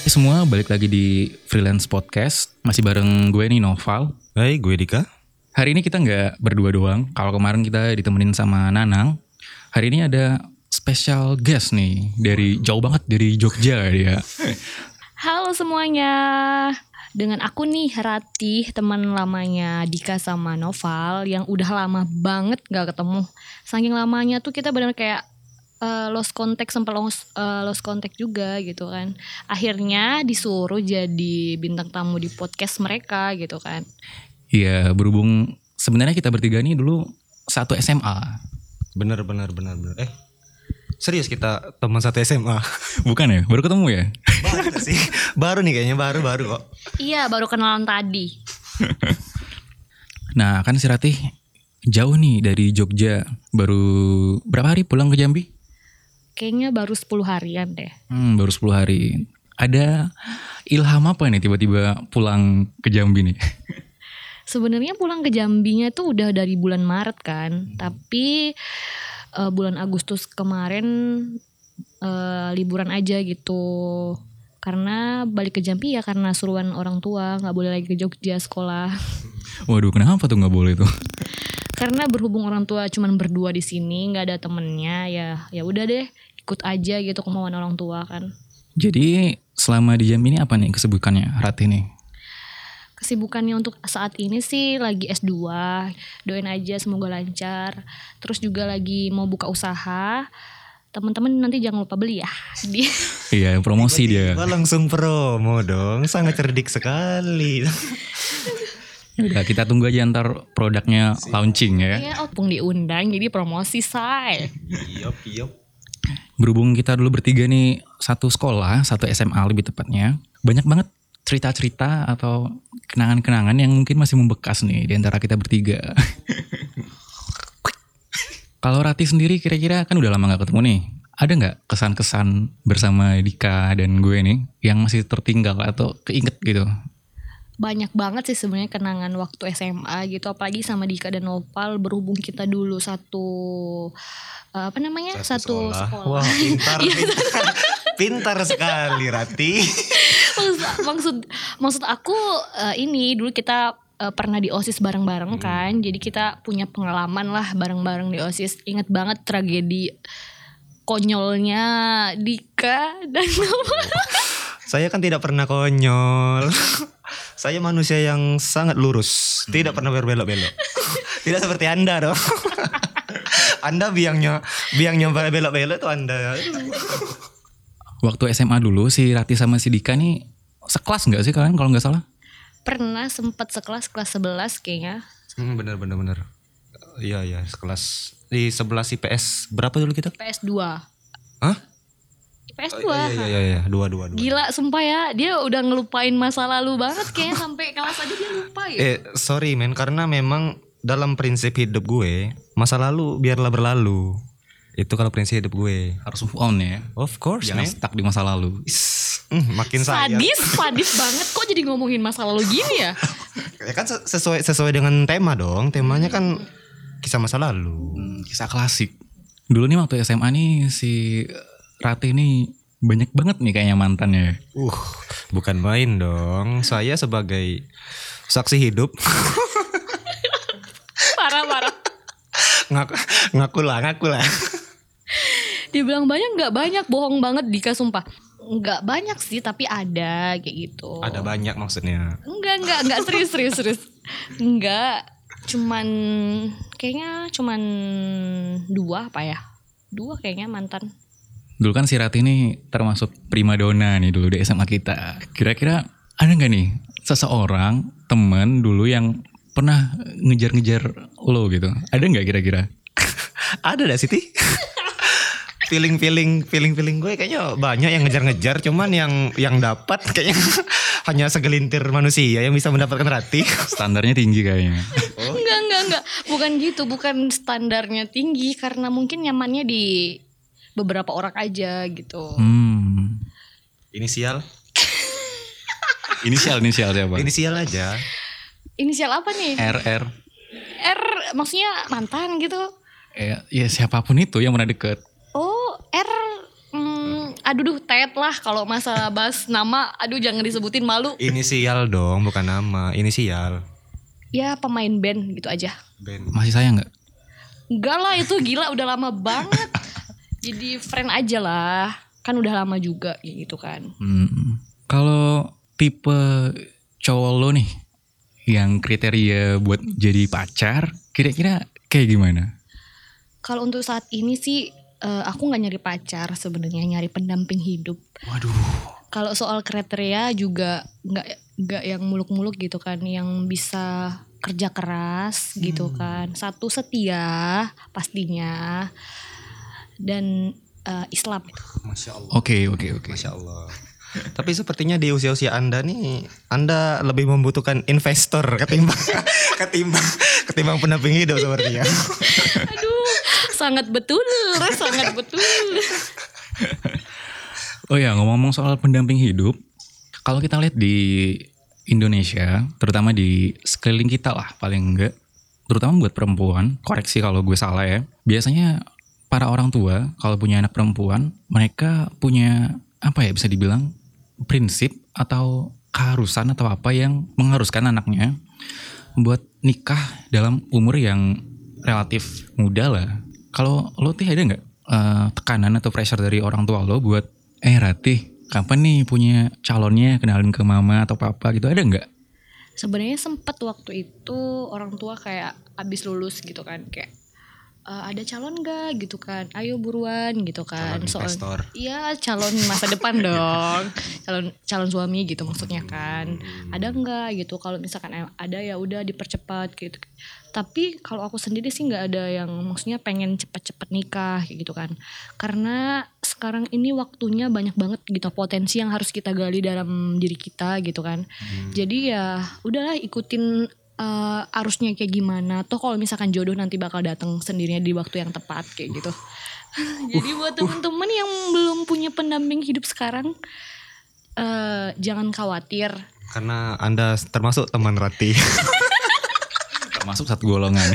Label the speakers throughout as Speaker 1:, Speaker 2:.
Speaker 1: kasih semua balik lagi di Freelance Podcast masih bareng gue nih Noval.
Speaker 2: Hai, gue Dika.
Speaker 1: Hari ini kita nggak berdua doang. Kalau kemarin kita ditemenin sama Nanang, hari ini ada special guest nih dari jauh banget dari Jogja dia.
Speaker 3: Halo semuanya. Dengan aku nih Ratih, teman lamanya Dika sama Noval yang udah lama banget gak ketemu. Saking lamanya tuh kita benar kayak eh, lost contact sempat lost, eh, lost contact juga gitu kan. Akhirnya disuruh jadi bintang tamu di podcast mereka gitu kan.
Speaker 1: Iya, berhubung sebenarnya kita bertiga nih dulu satu SMA.
Speaker 2: Bener, bener, bener, bener. Eh, serius kita teman satu SMA?
Speaker 1: Bukan ya? Baru ketemu ya?
Speaker 2: baru gak sih? Baru nih kayaknya, baru, baru kok.
Speaker 3: Iya, baru kenalan tadi.
Speaker 1: Nah, kan si Ratih jauh nih dari Jogja. Baru berapa hari pulang ke Jambi?
Speaker 3: Kayaknya baru 10 harian deh.
Speaker 1: Hmm, baru 10 hari. Ada ilham apa nih tiba-tiba pulang ke Jambi nih?
Speaker 3: Sebenarnya pulang ke Jambinya tuh udah dari bulan Maret kan, tapi eh, bulan Agustus kemarin eh, liburan aja gitu. Karena balik ke Jambi ya karena suruhan orang tua nggak boleh lagi ke Jogja sekolah.
Speaker 1: Waduh, kenapa tuh nggak boleh tuh?
Speaker 3: Karena berhubung orang tua cuman berdua di sini nggak ada temennya ya ya udah deh ikut aja gitu kemauan orang tua kan.
Speaker 1: Jadi selama di Jambi ini apa nih kesibukannya Ratih nih?
Speaker 3: Kesibukannya untuk saat ini sih lagi S2, doain aja semoga lancar. Terus juga lagi mau buka usaha. Teman-teman nanti jangan lupa beli ya. Di
Speaker 1: Iya, promosi dia.
Speaker 2: Tiba-tiba langsung promo dong, sangat cerdik sekali.
Speaker 1: Udah, kita tunggu aja ntar produknya launching ya.
Speaker 3: ya, opung diundang jadi promosi say.
Speaker 2: Yop, yop.
Speaker 1: Berhubung kita dulu bertiga nih satu sekolah, satu SMA lebih tepatnya, banyak banget cerita-cerita atau kenangan-kenangan yang mungkin masih membekas nih di antara kita bertiga. Kalau Rati sendiri kira-kira kan udah lama nggak ketemu nih. Ada nggak kesan-kesan bersama Dika dan gue nih yang masih tertinggal atau keinget gitu?
Speaker 3: Banyak banget sih sebenarnya kenangan waktu SMA gitu apalagi sama Dika dan Nopal berhubung kita dulu satu eh, apa namanya? Satu, sekolah. Iya.
Speaker 2: Wah, pintar, pintar. pintar sekali, Rati.
Speaker 3: maksud, maksud maksud aku eh, ini dulu kita eh, pernah di osis bareng-bareng
Speaker 2: Hmm.
Speaker 3: kan jadi kita punya pengalaman lah bareng-bareng di osis ingat banget tragedi konyolnya Dika dan apa
Speaker 2: Saya kan tidak pernah konyol. Saya manusia yang sangat lurus, tidak pernah berbelok-belok. tidak seperti Anda dong. Anda biangnya biangnya belok-belok tuh Anda.
Speaker 1: Waktu SMA dulu si Rati sama si Dika nih sekelas nggak sih kalian kalau nggak salah?
Speaker 3: pernah sempat sekelas kelas 11 kayaknya
Speaker 2: Hmm, bener bener bener. Iya iya sekelas di sebelas IPS berapa dulu kita?
Speaker 3: PS 2
Speaker 2: Hah?
Speaker 3: PS 2
Speaker 2: Iya iya iya iya. dua dua dua.
Speaker 3: gila sumpah ya dia udah ngelupain masa lalu banget kayaknya sampai kelas aja dia lupa ya
Speaker 2: Eh sorry men karena memang dalam prinsip hidup gue masa lalu biarlah berlalu itu kalau prinsip hidup gue.
Speaker 1: Harus move on ya.
Speaker 2: Of course
Speaker 1: Jangan
Speaker 2: men.
Speaker 1: stuck di masa lalu.
Speaker 2: Is, mm, makin saya.
Speaker 3: sadis sadis banget kok jadi ngomongin masa lalu gini ya
Speaker 2: Ya kan se- sesuai sesuai dengan tema dong. Temanya kan kisah masa lalu.
Speaker 1: Hmm, kisah klasik. Dulu nih waktu SMA nih si Rati nih banyak banget nih kayaknya mantannya.
Speaker 2: Uh bukan main dong. Saya sebagai saksi hidup
Speaker 3: parah parah
Speaker 2: ngaku ngaku lah ngaku lah.
Speaker 3: Dibilang banyak nggak banyak, bohong banget Dika sumpah. Nggak banyak sih, tapi ada kayak gitu.
Speaker 2: Ada banyak maksudnya.
Speaker 3: Enggak, enggak, enggak serius, serius, serius. Enggak, cuman kayaknya cuman dua apa ya? Dua kayaknya mantan.
Speaker 1: Dulu kan si Rati nih termasuk primadona nih dulu di SMA kita. Kira-kira ada nggak nih seseorang temen dulu yang pernah ngejar-ngejar lo gitu? Ada nggak kira-kira?
Speaker 2: Ada dah Siti. feeling feeling feeling feeling gue kayaknya banyak yang ngejar-ngejar cuman yang yang dapat kayaknya hanya segelintir manusia yang bisa mendapatkan rati.
Speaker 1: Standarnya tinggi kayaknya.
Speaker 3: Enggak, enggak, enggak. Bukan gitu, bukan standarnya tinggi karena mungkin nyamannya di beberapa orang aja gitu.
Speaker 1: Hmm.
Speaker 2: Inisial?
Speaker 1: Inisial inisial siapa?
Speaker 2: Inisial aja.
Speaker 3: Inisial apa nih?
Speaker 1: RR.
Speaker 3: R maksudnya mantan gitu.
Speaker 1: Eh, ya siapapun itu yang pernah deket.
Speaker 3: Oh, R mm, aduh duh Ted lah kalau masalah bahas nama aduh jangan disebutin malu
Speaker 2: Inisial dong, bukan nama. Inisial.
Speaker 3: ya pemain band gitu aja
Speaker 2: Ben.
Speaker 1: Masih sayang nggak?
Speaker 3: enggak lah itu gila udah lama banget jadi friend aja lah kan udah lama juga gitu kan
Speaker 1: Hmm. Kalau tipe cowok lo nih yang kriteria buat jadi pacar kira-kira kayak gimana?
Speaker 3: kalau untuk saat ini sih eh, aku nggak nyari pacar sebenarnya nyari pendamping hidup
Speaker 1: Waduh.
Speaker 3: kalau soal kriteria juga nggak nggak yang muluk-muluk gitu kan yang bisa kerja keras gitu
Speaker 2: Hmm.
Speaker 3: kan satu setia pastinya dan eh, Islam
Speaker 2: Masya Allah.
Speaker 1: Oke, oke, oke.
Speaker 2: Masya Allah. Tapi sepertinya di usia-usia Anda nih, Anda lebih membutuhkan investor ketimbang ketimbang ketimbang pendamping hidup sepertinya.
Speaker 3: aduh sangat betul sangat betul
Speaker 1: Oh ya, ngomong-ngomong soal pendamping hidup, kalau kita lihat di Indonesia, terutama di sekeliling kita lah paling enggak, terutama buat perempuan, koreksi kalau gue salah ya. Biasanya para orang tua kalau punya anak perempuan, mereka punya apa ya bisa dibilang prinsip atau keharusan atau apa yang mengharuskan anaknya buat nikah dalam umur yang relatif muda lah. Kalau lo tih ada nggak eh, tekanan atau pressure dari orang tua lo buat eh Ratih kapan nih punya calonnya kenalin ke mama atau papa gitu ada nggak?
Speaker 3: sebenarnya sempet waktu itu orang tua kayak abis lulus gitu kan kayak "Eh, ada calon gak gitu kan ayo buruan gitu kan
Speaker 2: Calon
Speaker 3: soal
Speaker 2: investor.
Speaker 3: Iya calon masa depan dong calon calon suami gitu maksudnya kan ada nggak gitu kalau misalkan ada ya udah dipercepat gitu tapi kalau aku sendiri sih nggak ada yang maksudnya pengen cepet-cepet nikah kayak gitu kan karena sekarang ini waktunya banyak banget gitu potensi yang harus kita gali dalam diri kita gitu kan jadi ya udahlah ikutin eh, arusnya kayak gimana toh kalau misalkan jodoh nanti bakal datang sendirinya di waktu yang tepat kayak gitu jadi buat temen-temen yang belum punya pendamping hidup sekarang eh jangan khawatir.
Speaker 2: Karena Anda termasuk teman Rati.
Speaker 1: Termasuk satu golongan.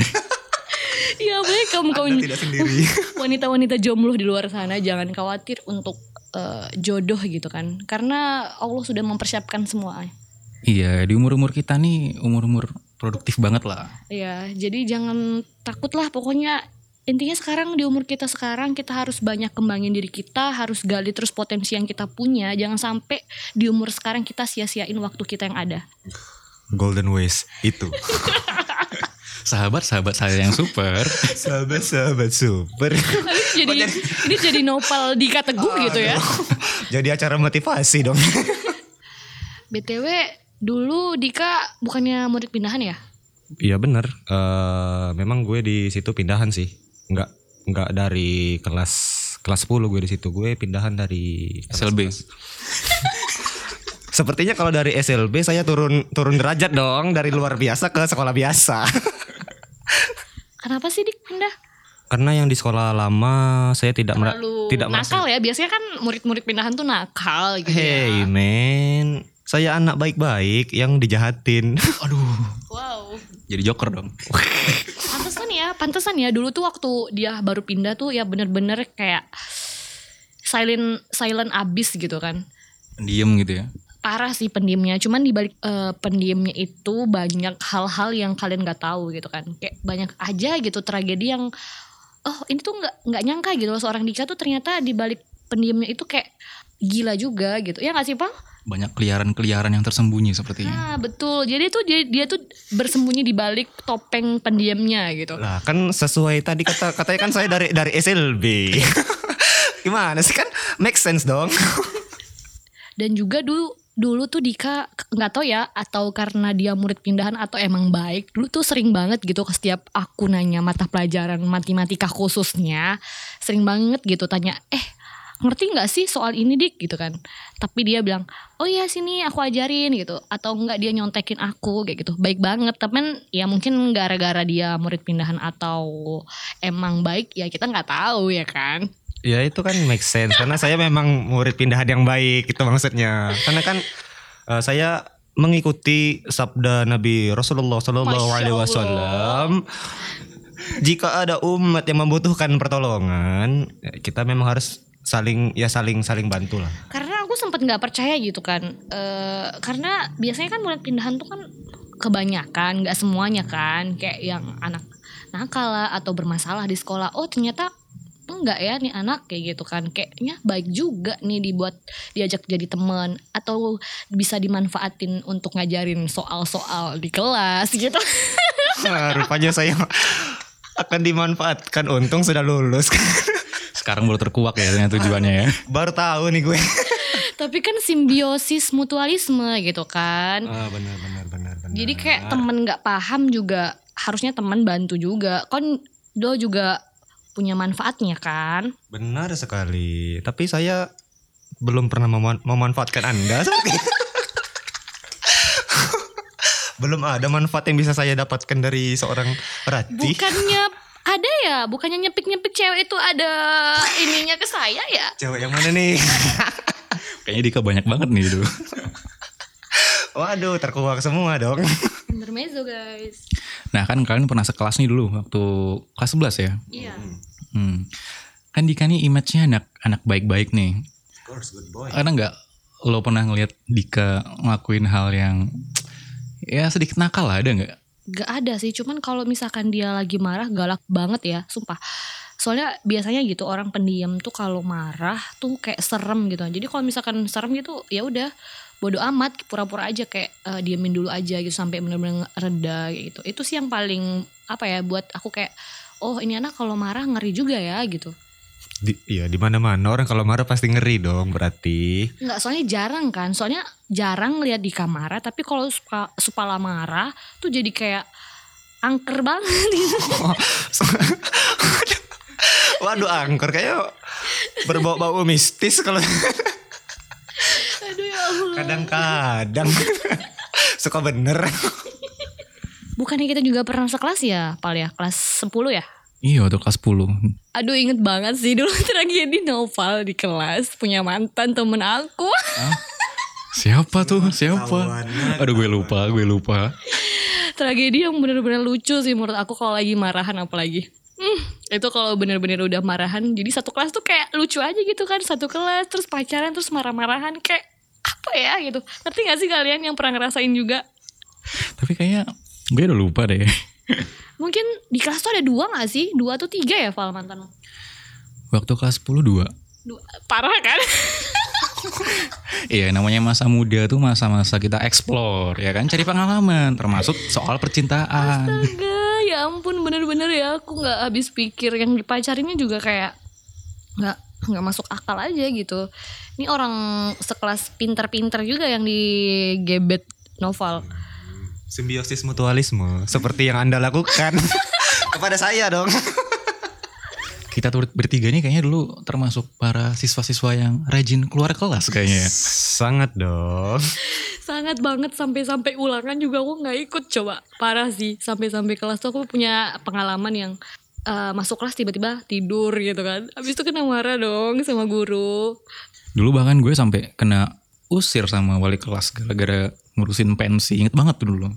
Speaker 3: Ya baik kamu kamu
Speaker 2: Anda tidak sendiri.
Speaker 3: wanita-wanita jomblo di luar sana jangan khawatir untuk eh, jodoh gitu kan. Karena Allah sudah mempersiapkan semua.
Speaker 1: iya di umur umur kita nih umur umur produktif banget lah.
Speaker 3: Ya, jadi jangan takut lah pokoknya intinya sekarang di umur kita sekarang kita harus banyak kembangin diri kita, harus gali terus potensi yang kita punya. Jangan sampai di umur sekarang kita sia-siain waktu kita yang ada.
Speaker 2: Golden Ways itu.
Speaker 1: Sahabat sahabat saya yang super.
Speaker 2: Sahabat-sahabat super.
Speaker 3: jadi ini jadi nopal di Teguh gitu ya.
Speaker 2: Jadi acara motivasi dong.
Speaker 3: BTW dulu Dika bukannya murid pindahan ya?
Speaker 2: Iya bener. Eh, memang gue di situ pindahan sih. Nggak nggak dari kelas kelas 10 gue di situ. Gue pindahan dari
Speaker 1: SLB.
Speaker 2: Sepertinya kalau dari SLB saya turun turun derajat dong dari luar biasa ke sekolah biasa.
Speaker 3: Kenapa sih Dik pindah?
Speaker 2: Karena yang di sekolah lama saya tidak mera-
Speaker 3: Terlalu
Speaker 2: tidak merasa.
Speaker 3: nakal ya. Biasanya kan murid-murid pindahan tuh nakal gitu
Speaker 2: Hey
Speaker 3: ya.
Speaker 2: men, saya anak baik-baik yang dijahatin.
Speaker 1: Aduh.
Speaker 3: Wow.
Speaker 1: Jadi joker dong.
Speaker 3: Pantesan ya, pantesan ya. Dulu tuh waktu dia baru pindah tuh ya bener-bener kayak silent silent abis gitu kan.
Speaker 1: Diem gitu ya.
Speaker 3: parah sih pendiemnya cuman dibalik eh, pendiemnya itu banyak hal-hal yang kalian nggak tahu gitu kan kayak banyak aja gitu tragedi yang oh ini tuh nggak nggak nyangka gitu loh seorang Dika tuh ternyata dibalik pendiemnya itu kayak gila juga gitu ya nggak sih Pang?
Speaker 1: Banyak keliaran-keliaran yang tersembunyi sepertinya.
Speaker 3: Nah betul jadi tuh dia, dia tuh bersembunyi dibalik topeng pendiemnya gitu
Speaker 2: Lah kan sesuai tadi kata katanya kan saya dari dari SLB. Gimana sih kan make sense dong.
Speaker 3: dan juga dulu dulu tuh Dika nggak tahu ya atau karena dia murid pindahan atau emang baik dulu tuh sering banget gitu ke setiap aku nanya mata pelajaran matematika khususnya sering banget gitu tanya eh ngerti nggak sih soal ini dik gitu kan tapi dia bilang oh ya sini aku ajarin gitu atau enggak dia nyontekin aku kayak gitu baik banget tapi ya mungkin gara-gara dia murid pindahan atau emang baik ya kita nggak tahu ya kan
Speaker 2: Ya itu kan make sense karena saya memang murid pindahan yang baik itu maksudnya. Karena kan eh, saya mengikuti sabda Nabi Rasulullah Shallallahu
Speaker 3: Masya
Speaker 2: Alaihi Wasallam. Jika ada umat yang membutuhkan pertolongan, eh, kita memang harus saling ya saling saling bantu lah.
Speaker 3: Karena aku sempet nggak percaya gitu kan. Eh, karena biasanya kan murid pindahan tuh kan kebanyakan, nggak semuanya kan. Kayak yang anak nakal lah atau bermasalah di sekolah. Oh ternyata enggak ya nih anak kayak gitu kan. Kayaknya baik juga nih dibuat diajak jadi teman atau bisa dimanfaatin untuk ngajarin soal-soal di kelas gitu.
Speaker 2: Wah, Nah, Rupanya saya akan dimanfaatkan. Untung sudah lulus.
Speaker 1: Sekarang baru terkuak ya ternyata tujuannya ya.
Speaker 2: Baru tahu nih gue.
Speaker 3: Tapi kan simbiosis mutualisme gitu kan.
Speaker 2: Ah, benar benar benar benar.
Speaker 3: Jadi kayak temen nggak paham juga harusnya temen bantu juga. Kan do juga punya manfaatnya kan.
Speaker 2: benar sekali. Tapi saya belum pernah meman- memanfaatkan Anda. seperti itu. belum ada manfaat yang bisa saya dapatkan dari seorang Ratih.
Speaker 3: Bukannya ada ya, bukannya nyepik-nyepik cewek itu ada ininya ke saya ya.
Speaker 2: Cewek yang mana nih?
Speaker 1: Kayaknya Dika banyak banget nih dulu.
Speaker 2: Waduh, terkuak semua dong.
Speaker 3: Bener mezo guys.
Speaker 1: Nah kan kalian pernah sekelas nih dulu waktu kelas 11 ya.
Speaker 3: Iya.
Speaker 1: Hmm. Kan Dika nih image-nya anak anak baik-baik nih.
Speaker 2: Of course, good boy.
Speaker 1: Karena nggak lo pernah ngelihat Dika ngelakuin hal yang ya sedikit nakal lah ada nggak?
Speaker 3: Gak ada sih, cuman kalau misalkan dia lagi marah galak banget ya, sumpah. Soalnya biasanya gitu orang pendiam tuh kalau marah tuh kayak serem gitu. Jadi kalau misalkan serem gitu ya udah bodo amat pura-pura aja kayak eh, diamin dulu aja gitu sampai benar-benar reda kayak gitu. Itu sih yang paling apa ya buat aku kayak oh ini anak kalau marah ngeri juga ya gitu.
Speaker 2: Di, iya, di mana-mana orang kalau marah pasti ngeri dong berarti.
Speaker 3: Enggak, soalnya jarang kan. Soalnya jarang lihat di kamar, tapi kalau suka supala marah tuh jadi kayak angker banget gitu.
Speaker 2: Waduh, angker kayak berbau-bau mistis kalau
Speaker 3: Hmm. Aduh ya Allah.
Speaker 2: kadang-kadang suka bener.
Speaker 3: Bukannya kita juga pernah sekelas ya, Pal ya? Kelas 10 ya?
Speaker 1: Iya waktu kelas 10
Speaker 3: Aduh inget banget sih dulu tragedi Noval di kelas punya mantan temen aku.
Speaker 1: Siapa tuh? Siapa? Aduh gue lupa, gue lupa.
Speaker 3: tragedi yang bener-bener lucu sih menurut aku kalau lagi marahan apalagi. Hmm, itu kalau bener-bener udah marahan jadi satu kelas tuh kayak lucu aja gitu kan satu kelas terus pacaran terus marah-marahan kayak apa ya gitu ngerti gak sih kalian yang pernah ngerasain juga
Speaker 1: Tapi kayaknya gue udah lupa deh.
Speaker 3: mungkin di kelas tuh ada dua gak sih dua atau tiga ya Val mantan
Speaker 1: Waktu kelas 10 dua.
Speaker 3: dua, parah kan
Speaker 1: Iya namanya masa muda tuh masa-masa kita explore ya kan cari pengalaman termasuk soal percintaan.
Speaker 3: Astaga, ya ampun bener-bener ya aku nggak habis pikir yang dipacarinnya juga kayak nggak nggak masuk akal aja gitu. Ini orang sekelas pinter-pinter juga yang digebet novel.
Speaker 2: Simbiosis mutualisme seperti yang Anda lakukan kepada saya dong.
Speaker 1: Kita tuh bertiga nih kayaknya dulu termasuk para siswa-siswa yang rajin keluar kelas
Speaker 3: Iya.
Speaker 1: kayaknya. ya.
Speaker 2: Sangat dong.
Speaker 3: Sangat banget sampai-sampai ulangan juga aku nggak ikut coba. Parah sih sampai-sampai kelas tuh aku punya pengalaman yang eh, masuk kelas tiba-tiba tidur gitu kan. Habis itu kena marah dong sama guru.
Speaker 1: Dulu bahkan gue sampai kena usir sama wali kelas gara-gara ngurusin pensi. Ingat banget tuh dulu.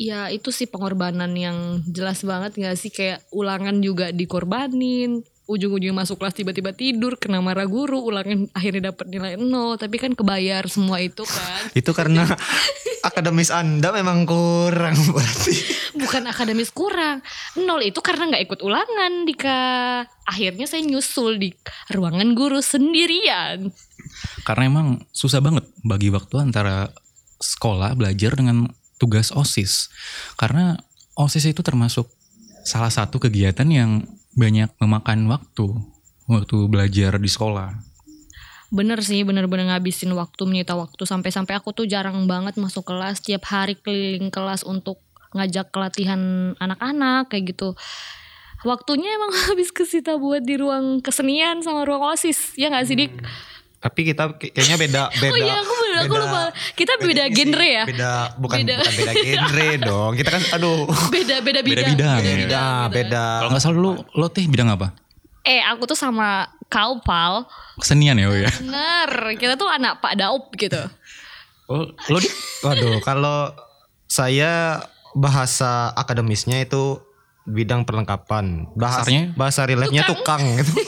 Speaker 3: Ya itu sih pengorbanan yang jelas banget gak sih kayak ulangan juga dikorbanin ujung-ujungnya masuk kelas tiba-tiba tidur kena marah guru ulangan akhirnya dapat nilai nol tapi kan kebayar semua itu kan
Speaker 2: Itu karena akademis Anda memang kurang berarti.
Speaker 3: bukan akademis kurang nol itu karena nggak ikut ulangan Dika akhirnya saya nyusul di ruangan guru sendirian
Speaker 1: Karena emang susah banget bagi waktu antara sekolah belajar dengan tugas OSIS. Karena OSIS itu termasuk salah satu kegiatan yang banyak memakan waktu waktu belajar di sekolah.
Speaker 3: Bener sih, bener-bener ngabisin waktu, menyita waktu sampai-sampai aku tuh jarang banget masuk kelas, tiap hari keliling kelas untuk ngajak latihan anak-anak kayak gitu. Waktunya emang habis kesita buat di ruang kesenian sama ruang OSIS, ya gak sih Dik?
Speaker 1: Hmm.
Speaker 2: Tapi kita ki- kayaknya beda beda.
Speaker 3: oh iya, aku bener, aku
Speaker 2: beda-
Speaker 3: lupa. Kita beda
Speaker 2: ini sih,
Speaker 3: genre ya?
Speaker 2: Beda bukan
Speaker 3: Beda.
Speaker 2: bukan beda genre dong. Kita kan aduh.
Speaker 3: Beda beda bidang.
Speaker 1: bidang, ya.
Speaker 2: Beda, beda.
Speaker 1: Kalau nggak salah lu lo teh bidang apa?
Speaker 3: Eh, aku tuh sama kau, Pal.
Speaker 1: Kesenian ya, oh ya.
Speaker 3: Bener, kita tuh anak Pak Daup gitu.
Speaker 1: Oh, lo di
Speaker 2: Waduh, kalau saya bahasa akademisnya itu bidang perlengkapan. Bahasa
Speaker 1: Kasarnya?
Speaker 2: bahasa relate-nya tukang gitu.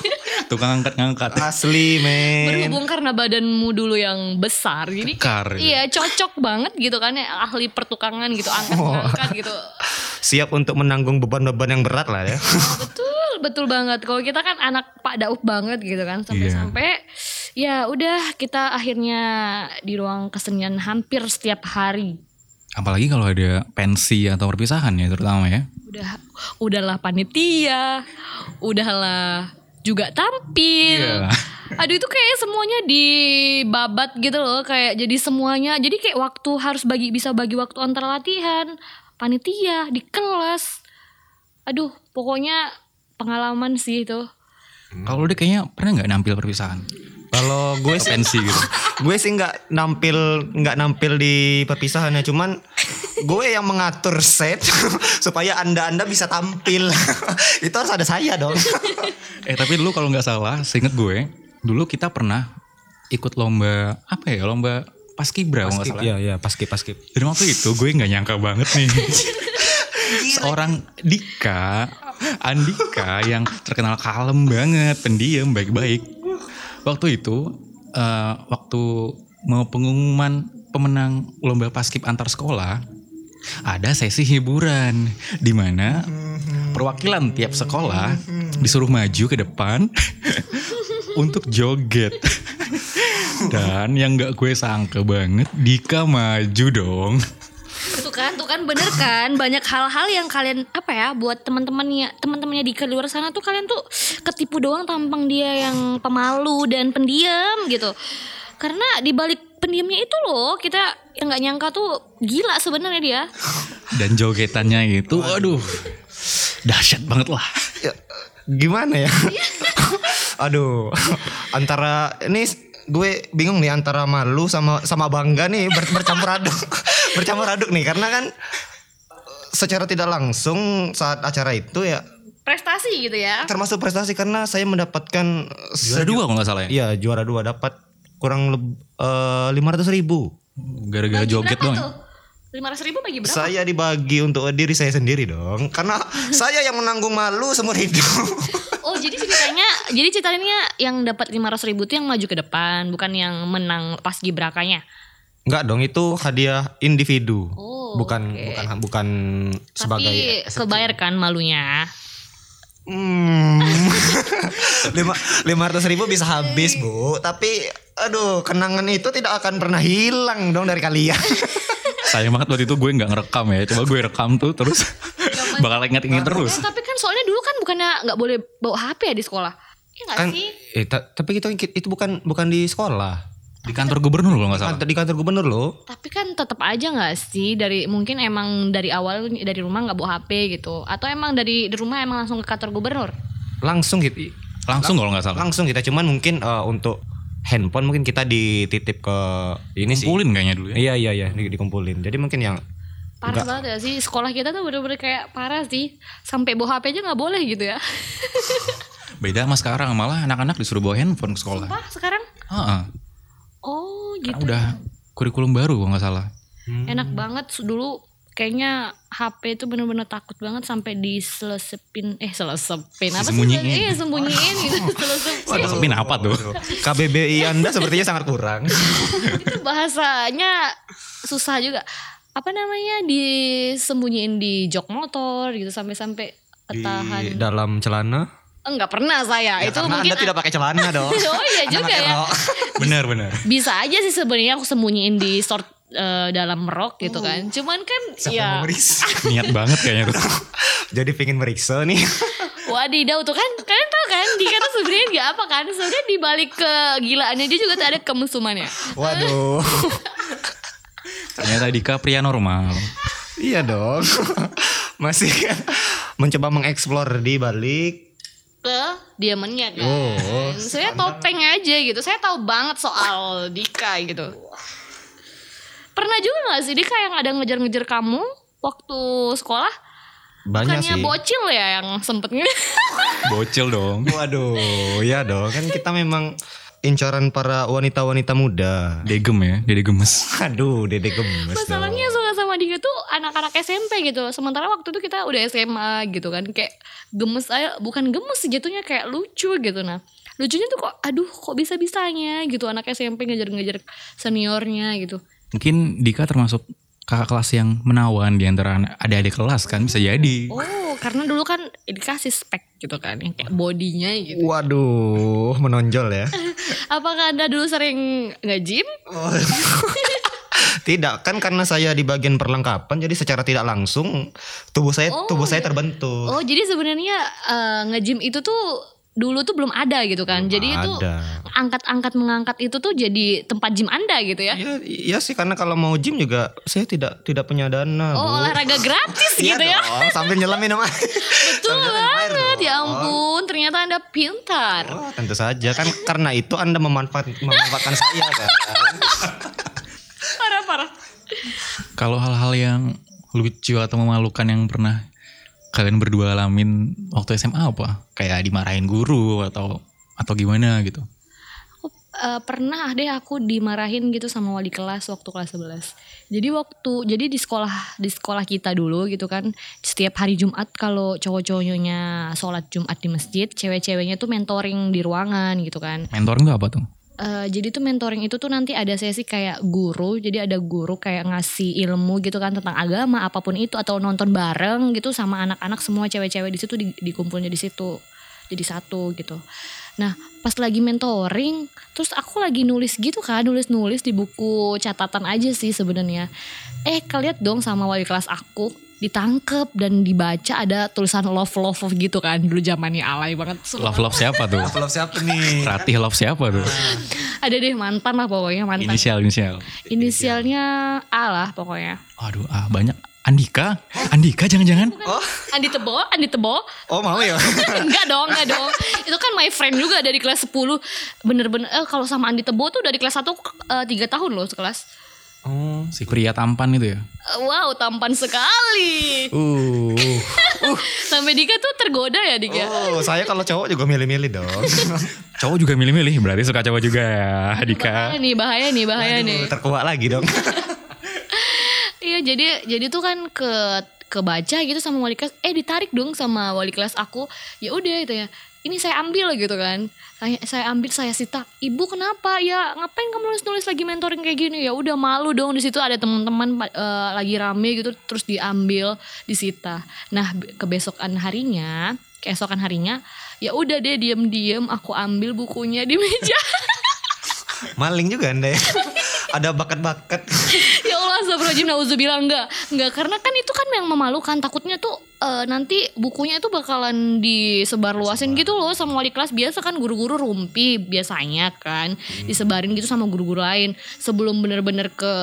Speaker 1: tukang angkat ngangkat
Speaker 2: Asli men.
Speaker 3: Berhubung karena badanmu dulu yang besar, jadi
Speaker 1: Kekar, gitu.
Speaker 3: iya cocok banget gitu kan ya ahli pertukangan gitu angkat angkat gitu.
Speaker 2: Siap untuk menanggung beban-beban yang berat lah ya.
Speaker 3: Betul betul banget. Kalau kita kan anak Pak Daud banget gitu kan sampai-sampai ya udah kita akhirnya di ruang kesenian hampir setiap hari.
Speaker 1: apalagi kalau ada pensi atau perpisahan ya terutama ya
Speaker 3: Udah udahlah panitia, udahlah juga
Speaker 1: Iya.
Speaker 3: tampil. Aduh itu kayak semuanya dibabat gitu loh kayak jadi semuanya jadi kayak waktu harus bagi bisa bagi waktu antara latihan panitia di kelas aduh pokoknya pengalaman sih itu
Speaker 1: kalau udah kayaknya pernah nggak nampil perpisahan
Speaker 2: Kalau gue
Speaker 1: Atau
Speaker 2: sih
Speaker 1: pensi gitu
Speaker 2: gue sih nggak nampil nggak nampil di perpisahannya cuman gue yang mengatur set supaya anda anda bisa tampil itu harus ada saya dong
Speaker 1: eh tapi dulu kalau nggak salah seinget gue dulu kita pernah ikut lomba apa ya lomba paskibra kalau nggak salah
Speaker 2: ya paskip paskip
Speaker 1: dan waktu itu gue nggak nyangka banget nih seorang Dika Andika yang terkenal kalem banget pendiam baik-baik waktu itu eh, waktu mau pengumuman pemenang lomba paskib antar sekolah ada sesi hiburan di mana perwakilan tiap sekolah disuruh maju ke depan untuk joget. Dan yang gak gue sangka banget Dika maju dong
Speaker 3: tuh kan tuh kan bener kan banyak hal-hal yang kalian apa ya buat teman-temannya teman-temannya di luar sana tuh kalian tuh ketipu doang tampang dia yang pemalu dan pendiam gitu karena di balik pendiamnya itu loh kita yang nggak nyangka tuh gila sebenarnya dia
Speaker 1: Dan jogetannya gitu Aduh Dahsyat banget lah
Speaker 2: gimana ya aduh antara ini gue bingung nih antara malu sama sama bangga nih ber- bercampur aduk bercampur aduk nih karena kan secara tidak langsung saat acara itu ya
Speaker 3: prestasi gitu ya
Speaker 2: termasuk prestasi karena saya mendapatkan eh,
Speaker 1: Juara dua kalau gak salah ya
Speaker 2: Iya juara dua dapat kurang eh, lima ratus ribu.
Speaker 1: Gara-gara joget doang ya.
Speaker 3: lima ratus ribu bagi berapa
Speaker 2: Saya dibagi untuk diri saya sendiri dong, karena saya yang menanggung malu seumur hidup.
Speaker 3: oh jadi ceritanya jadi ceritanya yang dapat lima ratus ribu tuh yang maju ke depan bukan yang menang pas gibrakanya
Speaker 2: Enggak dong itu hadiah individu,
Speaker 3: Oh,
Speaker 2: bukan
Speaker 3: oke.
Speaker 2: bukan bukan sebagai.
Speaker 3: tapi kebayar kan malunya
Speaker 2: Hmm. lima lima ratus ribu bisa habis bu, tapi aduh kenangan itu tidak akan pernah hilang dong dari kalian.
Speaker 1: Sayang banget waktu itu gue gak ngerekam ya Coba gue rekam tuh terus Bakal inget-inget terus
Speaker 3: Eh, tapi kan soalnya dulu kan bukannya nggak boleh bawa HP ya di sekolah Iya nggak
Speaker 2: Kan-
Speaker 3: sih
Speaker 2: eh, ta- tapi itu itu bukan bukan di sekolah,
Speaker 1: Di kantor gubernur kalau gak salah
Speaker 2: Kantor- di kantor gubernur loh.
Speaker 3: tapi kan tetap aja nggak sih dari mungkin emang dari awal dari rumah nggak bawa HP gitu atau emang dari di rumah emang langsung ke kantor gubernur
Speaker 2: Langsung gitu.
Speaker 1: Langsung kalau gak salah
Speaker 2: langsung kita cuman mungkin eh, untuk handphone mungkin kita dititip ke ini sih
Speaker 1: Kumpulin kayaknya dulu ya
Speaker 2: iya iya iya di- dikumpulin jadi mungkin yang
Speaker 3: parah banget ya sih sekolah kita tuh bener-bener kayak parah sih sampai bawa HP aja nggak boleh gitu ya
Speaker 1: Beda sama sekarang Malah anak-anak disuruh bawa handphone ke sekolah
Speaker 3: Wah sekarang
Speaker 1: Heeh.
Speaker 3: oh
Speaker 1: Karena
Speaker 3: gitu
Speaker 1: Nah. udah Hmm. kurikulum baru kalau gak salah
Speaker 3: enak banget dulu kayaknya HP itu bener-bener takut banget sampai diselesepin eh selesepin apa
Speaker 1: Disembunyiin.
Speaker 3: sih iya sembunyiin gitu selesepin
Speaker 1: Maksudnya apa tuh
Speaker 2: KBBI Anda sepertinya sangat kurang
Speaker 3: itu bahasanya susah juga apa namanya disembunyiin di jok motor gitu sampai-sampai ketahan
Speaker 2: di dalam celana
Speaker 3: enggak pernah saya
Speaker 2: Ya,
Speaker 3: Ah, itu
Speaker 2: karena
Speaker 3: mungkin
Speaker 2: Anda tidak pakai celana dong
Speaker 3: oh iya juga ya
Speaker 1: Bener-bener
Speaker 3: bisa aja sih sebenarnya aku sembunyiin di short eh, dalam rok
Speaker 2: Oh.
Speaker 3: gitu kan cuman kan ya
Speaker 2: ya.
Speaker 1: Niat banget kayaknya tuh
Speaker 2: jadi pingin meriksa nih
Speaker 3: Wadidaw tuh kan Kalian tau kan Dika tuh sebenernya gak apa kan Sebenernya dibalik kegilaannya Dia juga tuh ada kemesumannya
Speaker 2: waduh
Speaker 1: Ternyata Dika pria normal
Speaker 2: iya dong masih mencoba mengeksplor di balik
Speaker 3: Ke diamannya kan
Speaker 2: Oh.
Speaker 3: Saya topeng aja gitu Saya tahu banget soal Dika gitu Pernah juga gak sih Dika yang ada ngejar-ngejar kamu Waktu sekolah
Speaker 2: banyak
Speaker 3: Bukannya
Speaker 2: sih
Speaker 3: bocil ya yang sempet nge-
Speaker 1: Bocil dong
Speaker 2: waduh ya dong kan kita memang incaran para wanita-wanita muda
Speaker 1: Degem ya Dede gemes
Speaker 2: Aduh, dede gemes dong.
Speaker 3: Masalahnya suka sama Dika tuh anak-anak SMP gitu. Sementara waktu itu kita udah SMA gitu kan. Kayak gemes aja, bukan gemes sih jatuhnya kayak lucu gitu nah. lucunya tuh kok aduh kok bisa bisanya gitu anak SMP ngejar-ngejar seniornya gitu
Speaker 1: Mungkin Dika termasuk kakak kelas yang menawan di antara anak- adik-adik kelas kan bisa jadi.
Speaker 3: oh karena dulu kan dikasih spek gitu kan yang kayak bodinya gitu
Speaker 2: Iya. Waduh, menonjol ya.
Speaker 3: apakah anda dulu sering nggak gym
Speaker 2: Oh. tidak kan karena saya di bagian perlengkapan jadi secara tidak langsung tubuh saya
Speaker 3: Oh,
Speaker 2: tubuh saya
Speaker 3: iya.
Speaker 2: terbentuk.
Speaker 3: oh jadi sebenarnya eh, nge-gym itu tuh dulu tuh belum ada gitu kan jadi itu
Speaker 2: Ada.
Speaker 3: angkat-angkat mengangkat itu tuh jadi tempat gym anda gitu ya
Speaker 2: Ya, iya sih karena kalau mau gym juga saya tidak tidak punya dana.
Speaker 3: oh
Speaker 2: Bu.
Speaker 3: olahraga gratis
Speaker 2: Iya
Speaker 3: gitu ya
Speaker 2: dong, sambil nyelam minum air.
Speaker 3: betul
Speaker 2: Sambil nyelam air
Speaker 3: banget ya
Speaker 2: dong.
Speaker 3: ampun ternyata anda pintar
Speaker 2: Wah, tentu saja kan karena itu Anda memanfaat, memanfaatkan saya kan.
Speaker 3: parah parah
Speaker 1: Kalau hal-hal yang lucu atau memalukan yang pernah kalian berdua alamin waktu SMA apa? Kayak dimarahin guru atau atau gimana gitu.
Speaker 3: aku eh, pernah deh aku dimarahin gitu sama wali kelas waktu kelas 11. Jadi waktu jadi di sekolah di sekolah kita dulu gitu kan setiap hari Jumat kalau cowok-cowoknya sholat Jumat di masjid, cewek-ceweknya tuh mentoring di ruangan gitu kan.
Speaker 1: Mentoring tuh apa tuh?
Speaker 3: Eh, jadi tuh mentoring itu tuh nanti ada sesi kayak guru, jadi ada guru kayak ngasih ilmu gitu kan tentang agama apapun itu atau nonton bareng gitu sama anak-anak semua cewek-cewek di situ di- dikumpulnya di situ jadi satu gitu. Nah pas lagi mentoring, terus aku lagi nulis gitu kan, nulis-nulis di buku catatan aja sih sebenarnya. Eh keliat dong sama wali kelas aku ditangkep dan dibaca ada tulisan love love love gitu kan dulu zamannya alay banget. Sumpah.
Speaker 1: Love love siapa tuh?
Speaker 2: Kalau siapa nih?
Speaker 1: Ratih love siapa tuh?
Speaker 3: Ada deh mantan lah pokoknya mantan.
Speaker 1: Inisial inisial.
Speaker 3: Inisialnya A lah pokoknya.
Speaker 1: Aduh ah banyak. Andika, Andika jangan-jangan?
Speaker 2: Oh,
Speaker 3: Andi Tebo, Andi Tebo.
Speaker 2: oh mau ya.
Speaker 3: enggak dong, enggak dong. Itu kan my friend juga dari kelas 10. Bener-bener, eh, kalau sama Andi Tebo tuh dari kelas 1 tiga 3 tahun loh sekelas.
Speaker 2: Oh.
Speaker 1: Si pria tampan itu ya?
Speaker 3: Eh, wow, tampan sekali.
Speaker 2: Uh.
Speaker 3: Sampai Dika tuh tergoda ya Dika.
Speaker 2: Oh, saya kalau cowok juga milih-milih dong.
Speaker 1: Cowok juga milih-milih, berarti suka cowok juga ya, Dika.
Speaker 3: Bahaya nih, bahaya nih, bahaya Iya nih.
Speaker 2: Aduh, terkuak lagi dong.
Speaker 3: Iya jadi jadi tuh kan ke kebaca gitu sama wali kelas eh ditarik dong sama wali kelas aku ya udah gitu ya ini saya ambil gitu kan saya, saya ambil saya sita ibu kenapa ya ngapain kamu nulis nulis lagi mentoring kayak gini ya udah malu dong di situ ada teman-teman eh, lagi rame gitu terus diambil disita nah be- kebesokan harinya keesokan harinya ya udah deh diem diem aku ambil bukunya di meja
Speaker 2: Maling juga Anda ya. Ada bakat-bakat.
Speaker 3: ya Allah astagfirullahaladzim nauzubillah enggak enggak karena kan itu kan yang memalukan takutnya tuh eh, nanti bukunya itu bakalan disebar luasin gitu loh sama wali kelas biasa kan guru-guru rumpi biasanya kan disebarin gitu sama guru-guru lain sebelum bener-bener ke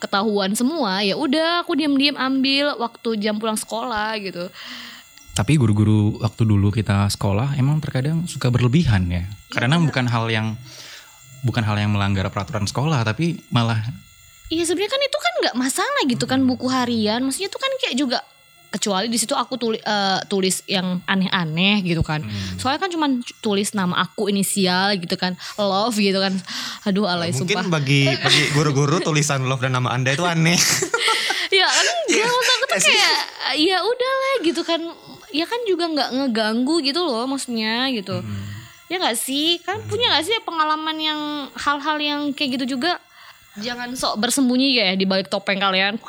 Speaker 3: ketahuan semua ya udah aku diam-diam ambil waktu jam pulang sekolah gitu
Speaker 1: Tapi guru-guru waktu dulu kita sekolah emang terkadang suka berlebihan ya. Karena bukan hal yang bukan hal yang melanggar peraturan sekolah, tapi malah
Speaker 3: Iya sebenarnya kan itu kan nggak masalah gitu kan buku harian, maksudnya itu kan kayak juga kecuali di situ aku tulis tulis yang aneh-aneh gitu kan. Soalnya kan cuman c- tulis nama aku inisial gitu kan, love gitu kan. Aduh alay
Speaker 2: Ya, Mungkin
Speaker 3: sumpah.
Speaker 2: bagi bagi guru-guru tulisan love dan nama Anda itu aneh.
Speaker 3: Ya kan enggak maksud aku tuh kayak ya udahlah gitu kan. Ya kan juga nggak ngeganggu gitu loh maksudnya gitu. Ya nggak sih? Kan punya nggak sih pengalaman yang hal-hal yang kayak gitu juga? Jangan sok bersembunyi ya di balik topeng kalian.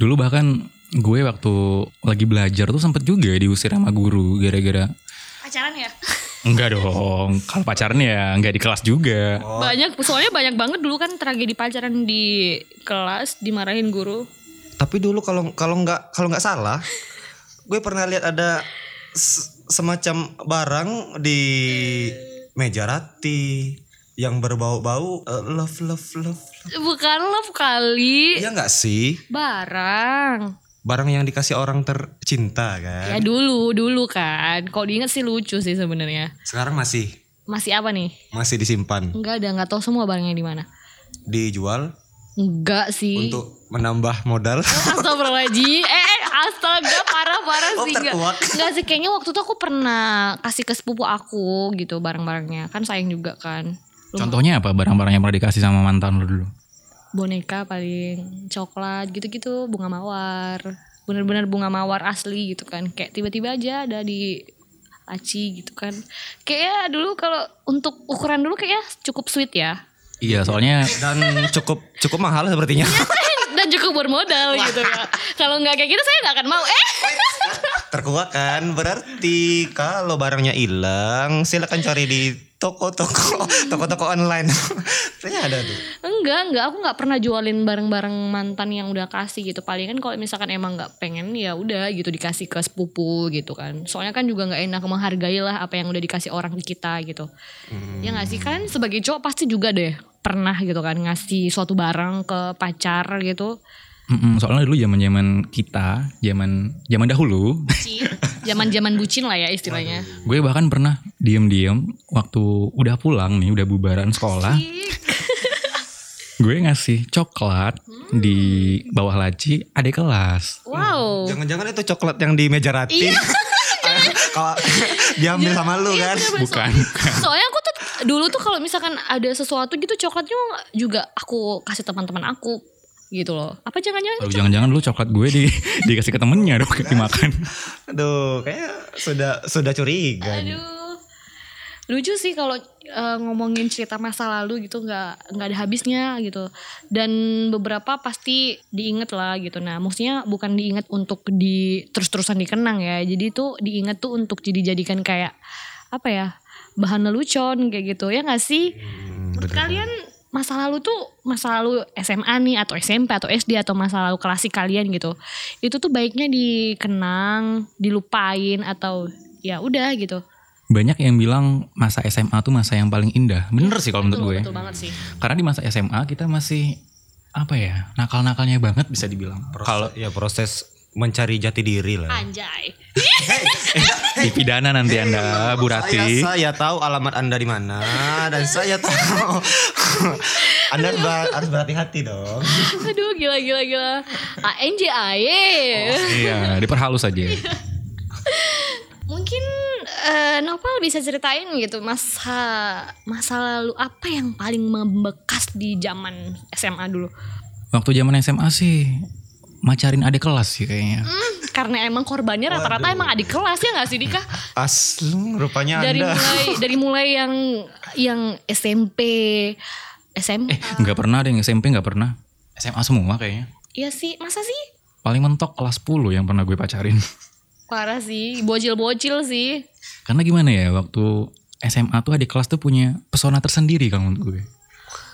Speaker 1: dulu bahkan gue waktu lagi belajar tuh sempet juga diusir sama guru gara-gara
Speaker 3: Pacaran ya?
Speaker 1: enggak dong. Kalau pacarnya ya enggak di kelas juga.
Speaker 2: Oh.
Speaker 3: Banyak, soalnya banyak banget dulu kan tragedi pacaran di kelas dimarahin guru.
Speaker 2: Tapi dulu kalau kalau nggak kalau nggak salah, gue pernah lihat ada se- semacam barang di meja rati yang berbau-bau eh, love love love.
Speaker 3: Bukan love kali,
Speaker 2: Iya nggak sih?
Speaker 3: barang.
Speaker 2: Barang yang dikasih orang tercinta kan.
Speaker 3: Ya dulu, dulu kan. Kalau diinget sih lucu sih sebenarnya.
Speaker 2: Sekarang masih
Speaker 3: Masih apa nih?
Speaker 2: masih disimpan,
Speaker 3: Enggak ada, nggak tahu semua barangnya di mana.
Speaker 2: dijual
Speaker 3: Enggak sih.
Speaker 2: untuk menambah modal.
Speaker 3: Astagfirullahaladzim Eh, eh astaga parah-parah
Speaker 2: Oh,
Speaker 3: sih enggak.
Speaker 2: terkuak.
Speaker 3: Enggak sih kayaknya waktu itu aku pernah kasih ke sepupu aku gitu barang-barangnya. Kan sayang juga kan. Lu-
Speaker 1: Contohnya apa barang-barang yang pernah dikasih sama mantan lo dulu?
Speaker 3: boneka paling coklat gitu-gitu bunga mawar bener-bener bunga mawar asli gitu kan kayak tiba-tiba aja ada di Aci gitu kan. Kayaknya dulu kalau untuk ukuran dulu kayaknya cukup sweet ya.
Speaker 1: Iya, soalnya
Speaker 2: Dan cukup cukup mahal sepertinya.
Speaker 3: Iya. Dan cukup bermodal gitu Kak. Kalau nggak kayak gitu saya nggak akan mau. Eh,
Speaker 2: Terkuak kan berarti kalau barangnya hilang silakan cari di toko-toko toko-toko online. Ternyata ada tuh.
Speaker 3: enggak, enggak. Aku nggak pernah jualin barang-barang mantan yang udah kasih gitu. Paling kan kalau misalkan emang nggak pengen ya udah gitu dikasih ke sepupu gitu kan. Soalnya kan juga nggak enak menghargai lah apa yang udah dikasih orang ke kita gitu. Ya nggak sih kan sebagai cowok pasti juga deh pernah gitu kan ngasih suatu barang ke pacar gitu.
Speaker 1: Mm-mm, soalnya dulu zaman-zaman kita, zaman zaman dahulu,
Speaker 3: Zaman-zaman bucin lah ya istilahnya.
Speaker 1: gue bahkan pernah diem-diem waktu udah pulang nih, udah bubaran sekolah, gue ngasih coklat di bawah laci adik kelas.
Speaker 3: Wow.
Speaker 2: Jangan-jangan itu coklat yang di meja rati.
Speaker 3: Iya.
Speaker 2: Kalau diambil sama lu kan.
Speaker 3: iya,
Speaker 1: Bukan.
Speaker 3: Soalnya aku tuh dulu tuh kalau misalkan ada sesuatu gitu coklatnya juga aku kasih teman-teman aku gitu loh. Apa jangan-jangan
Speaker 1: Lalu jangan-jangan dulu coklat gue di, dikasih ke temennya dong dimakan.
Speaker 2: Aduh, kayak sudah sudah curiga. nih.
Speaker 3: Aduh. Lucu sih kalau eh, ngomongin cerita masa lalu gitu nggak nggak ada habisnya gitu. Dan beberapa pasti diinget lah gitu. Nah, maksudnya bukan diinget untuk di terus-terusan dikenang ya. Jadi tuh diinget tuh untuk jadi jadikan kayak apa ya? bahan lelucon kayak gitu. Ya nggak sih?
Speaker 2: Hmm,
Speaker 3: Menurut
Speaker 2: betul.
Speaker 3: kalian masa lalu tuh masa lalu SMA nih atau SMP atau SD atau masa lalu klasik kalian gitu. Itu tuh baiknya dikenang, dilupain atau ya udah gitu.
Speaker 1: Banyak yang bilang masa SMA tuh masa yang paling indah. Bener sih kalau menurut
Speaker 3: Betul,
Speaker 1: gue. ya.
Speaker 3: Betul banget sih.
Speaker 1: Karena di masa SMA kita masih apa ya nakal-nakalnya banget bisa dibilang. Kalau
Speaker 2: Kalau ya proses mencari jati diri lah.
Speaker 3: Anjay.
Speaker 1: dipidana nanti anda Bu Rati.
Speaker 2: Iya, Saya, saya tahu alamat Anda di mana dan saya tahu Anda harus ber- harus berhati-hati dong.
Speaker 3: Aduh gila gila gila. Ah, ANJAY.
Speaker 1: Iya, diperhalus aja.
Speaker 3: Mungkin eh, Nopal bisa ceritain gitu masa masa lalu apa yang paling membekas di zaman SMA dulu.
Speaker 1: Waktu zaman SMA sih macarin adik kelas sih kayaknya.
Speaker 3: Hmm, karena emang korbannya rata-rata emang adik kelas ya nggak sih Dika?
Speaker 2: Aslung rupanya
Speaker 3: dari
Speaker 2: Anda.
Speaker 3: mulai dari mulai yang yang SMP SMP
Speaker 1: Eh, nggak pernah deh yang SMP nggak pernah. SMA semua kayaknya.
Speaker 3: Iya sih masa sih
Speaker 1: Paling mentok kelas 10 yang pernah gue pacarin.
Speaker 3: parah sih bocil-bocil sih
Speaker 1: Karena gimana ya waktu SMA tuh adik kelas tuh punya pesona tersendiri kalau menurut gue.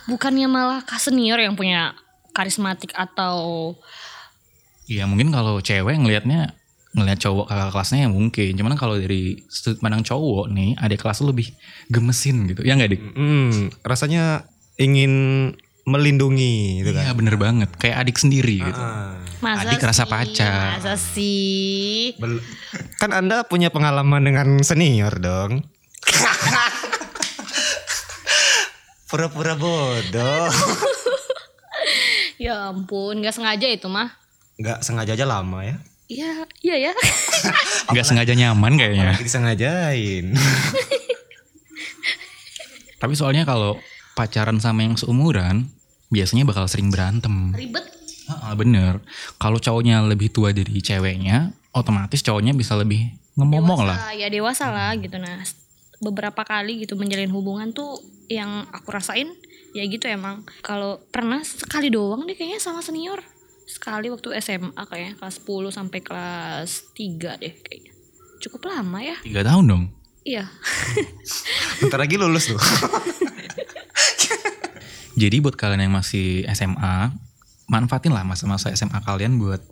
Speaker 3: bukannya malah kak senior yang punya karismatik atau
Speaker 1: Iya mungkin kalau cewek ngelihatnya ngelihat cowok kakak kelasnya ya mungkin. Cuman kalau dari sudut pandang cowok nih adik kelas tuh lebih gemesin gitu. Ya nggak dik?
Speaker 2: Hmm, rasanya ingin melindungi gitu kan.
Speaker 1: Iya bener banget. Kayak adik sendiri gitu.
Speaker 2: Ah.
Speaker 3: masa
Speaker 1: Adik rasa
Speaker 3: sih?
Speaker 1: pacar.
Speaker 3: masa sih
Speaker 2: Bel- kan Anda punya pengalaman dengan senior dong. Pura-pura bodoh.
Speaker 3: ya ampun nggak sengaja itu mah
Speaker 2: Nggak sengaja aja lama ya.
Speaker 3: Iya, iya ya.
Speaker 1: Nggak sengaja nyaman
Speaker 3: Iya.
Speaker 1: kayaknya.
Speaker 2: Apalagi disengajain.
Speaker 1: Tapi soalnya kalau pacaran sama yang seumuran biasanya bakal sering berantem.
Speaker 3: Ribet.
Speaker 1: Ah, bener. Kalau cowoknya lebih tua dari ceweknya, otomatis cowoknya bisa lebih ngomong lah.
Speaker 3: Dewasa, Ya dewasa lah gitu nah. Beberapa kali gitu menjalin hubungan tuh yang aku rasain ya gitu emang. Kalau pernah sekali doang deh kayaknya sama senior. Sekali waktu SMA kayaknya kelas 10 sampai kelas 3 deh kayaknya. Cukup lama ya.
Speaker 1: Tiga tahun dong.
Speaker 3: Iya.
Speaker 2: Bentar lagi lulus tuh.
Speaker 1: Jadi buat kalian yang masih SMA, manfaatin lah masa-masa SMA kalian buat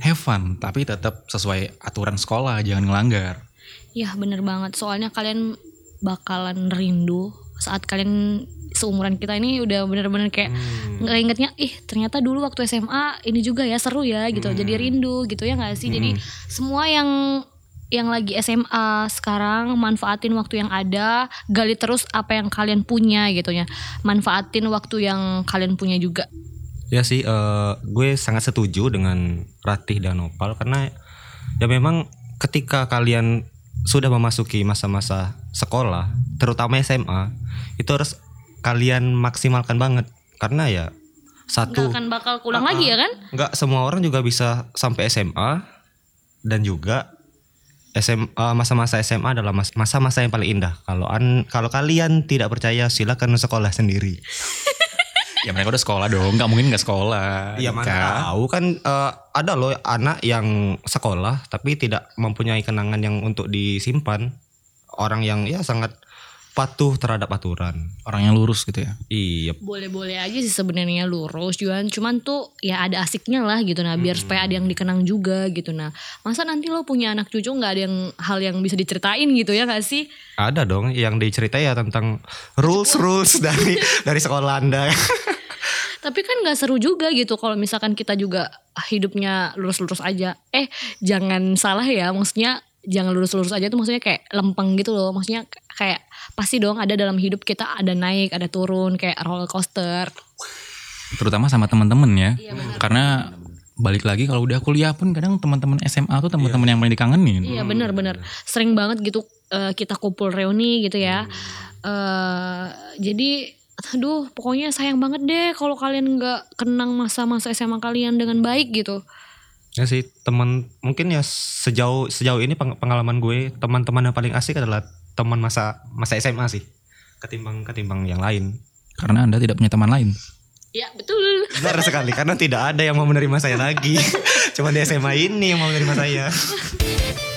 Speaker 1: have fun, tapi tetap sesuai aturan sekolah, jangan ngelanggar.
Speaker 3: Iya bener banget. Soalnya kalian bakalan rindu saat kalian seumuran kita ini udah bener-bener kayak nggak ingetnya ih ternyata dulu waktu SMA ini juga ya seru ya gitu
Speaker 1: Hmm.
Speaker 3: jadi rindu gitu ya nggak sih jadi semua yang yang lagi SMA sekarang manfaatin waktu yang ada gali terus apa yang kalian punya gitu ya manfaatin waktu yang kalian punya juga
Speaker 2: Ya sih, eh, gue sangat setuju dengan Ratih dan Opal karena ya memang ketika kalian sudah memasuki masa-masa sekolah, terutama SMA, itu harus kalian maksimalkan banget karena ya
Speaker 3: nggak
Speaker 2: satu
Speaker 3: akan bakal pulang lagi ya kan
Speaker 2: nggak semua orang juga bisa sampai SMA dan juga SM eh, masa-masa SMA adalah mas- masa-masa yang paling indah. Kalau an kalau kalian tidak percaya silakan sekolah sendiri.
Speaker 1: ya mereka udah sekolah dong nggak mungkin nggak sekolah
Speaker 2: Iya mana
Speaker 1: Kak.
Speaker 2: tahu kan eh, ada loh anak yang sekolah tapi tidak mempunyai kenangan yang untuk disimpan. Orang yang ya sangat patuh terhadap aturan.
Speaker 1: orang yang lurus gitu ya
Speaker 2: Iya.
Speaker 3: Boleh-boleh aja sih sebenarnya lurus cuman cuman tuh ya ada asiknya lah gitu nah biar supaya ada yang dikenang juga gitu nah. Masa nanti lo punya anak cucu nggak ada yang hal yang bisa diceritain gitu ya gak sih?
Speaker 2: Ada dong yang diceritain ya tentang rules rules dari dari sekolah Anda.
Speaker 3: Tapi kan nggak seru juga gitu kalau misalkan kita juga hidupnya lurus-lurus aja. Eh, jangan salah ya, maksudnya jangan lurus-lurus aja tuh maksudnya kayak lempeng gitu loh. Maksudnya kayak pasti dong ada dalam hidup kita ada naik, ada turun kayak roller coaster.
Speaker 1: terutama sama teman-teman ya
Speaker 3: Iya, benar.
Speaker 1: karena balik lagi kalau udah kuliah pun kadang teman-teman SMA tuh teman-teman yang paling dikangenin
Speaker 3: Iya benar-benar sering banget gitu eh, kita kumpul reuni gitu
Speaker 2: Hmm.
Speaker 3: ya. eh jadi aduh pokoknya sayang banget deh kalau kalian nggak kenang masa-masa SMA kalian dengan baik gitu.
Speaker 2: Ya sih teman mungkin ya sejauh sejauh ini peng- pengalaman gue teman-teman yang paling asik adalah teman masa masa SMA sih ketimbang ketimbang yang lain.
Speaker 1: karena anda tidak punya teman lain
Speaker 3: Ya betul.
Speaker 2: Benar sekali karena tidak ada yang mau menerima saya lagi. Cuma di SMA ini yang mau menerima saya.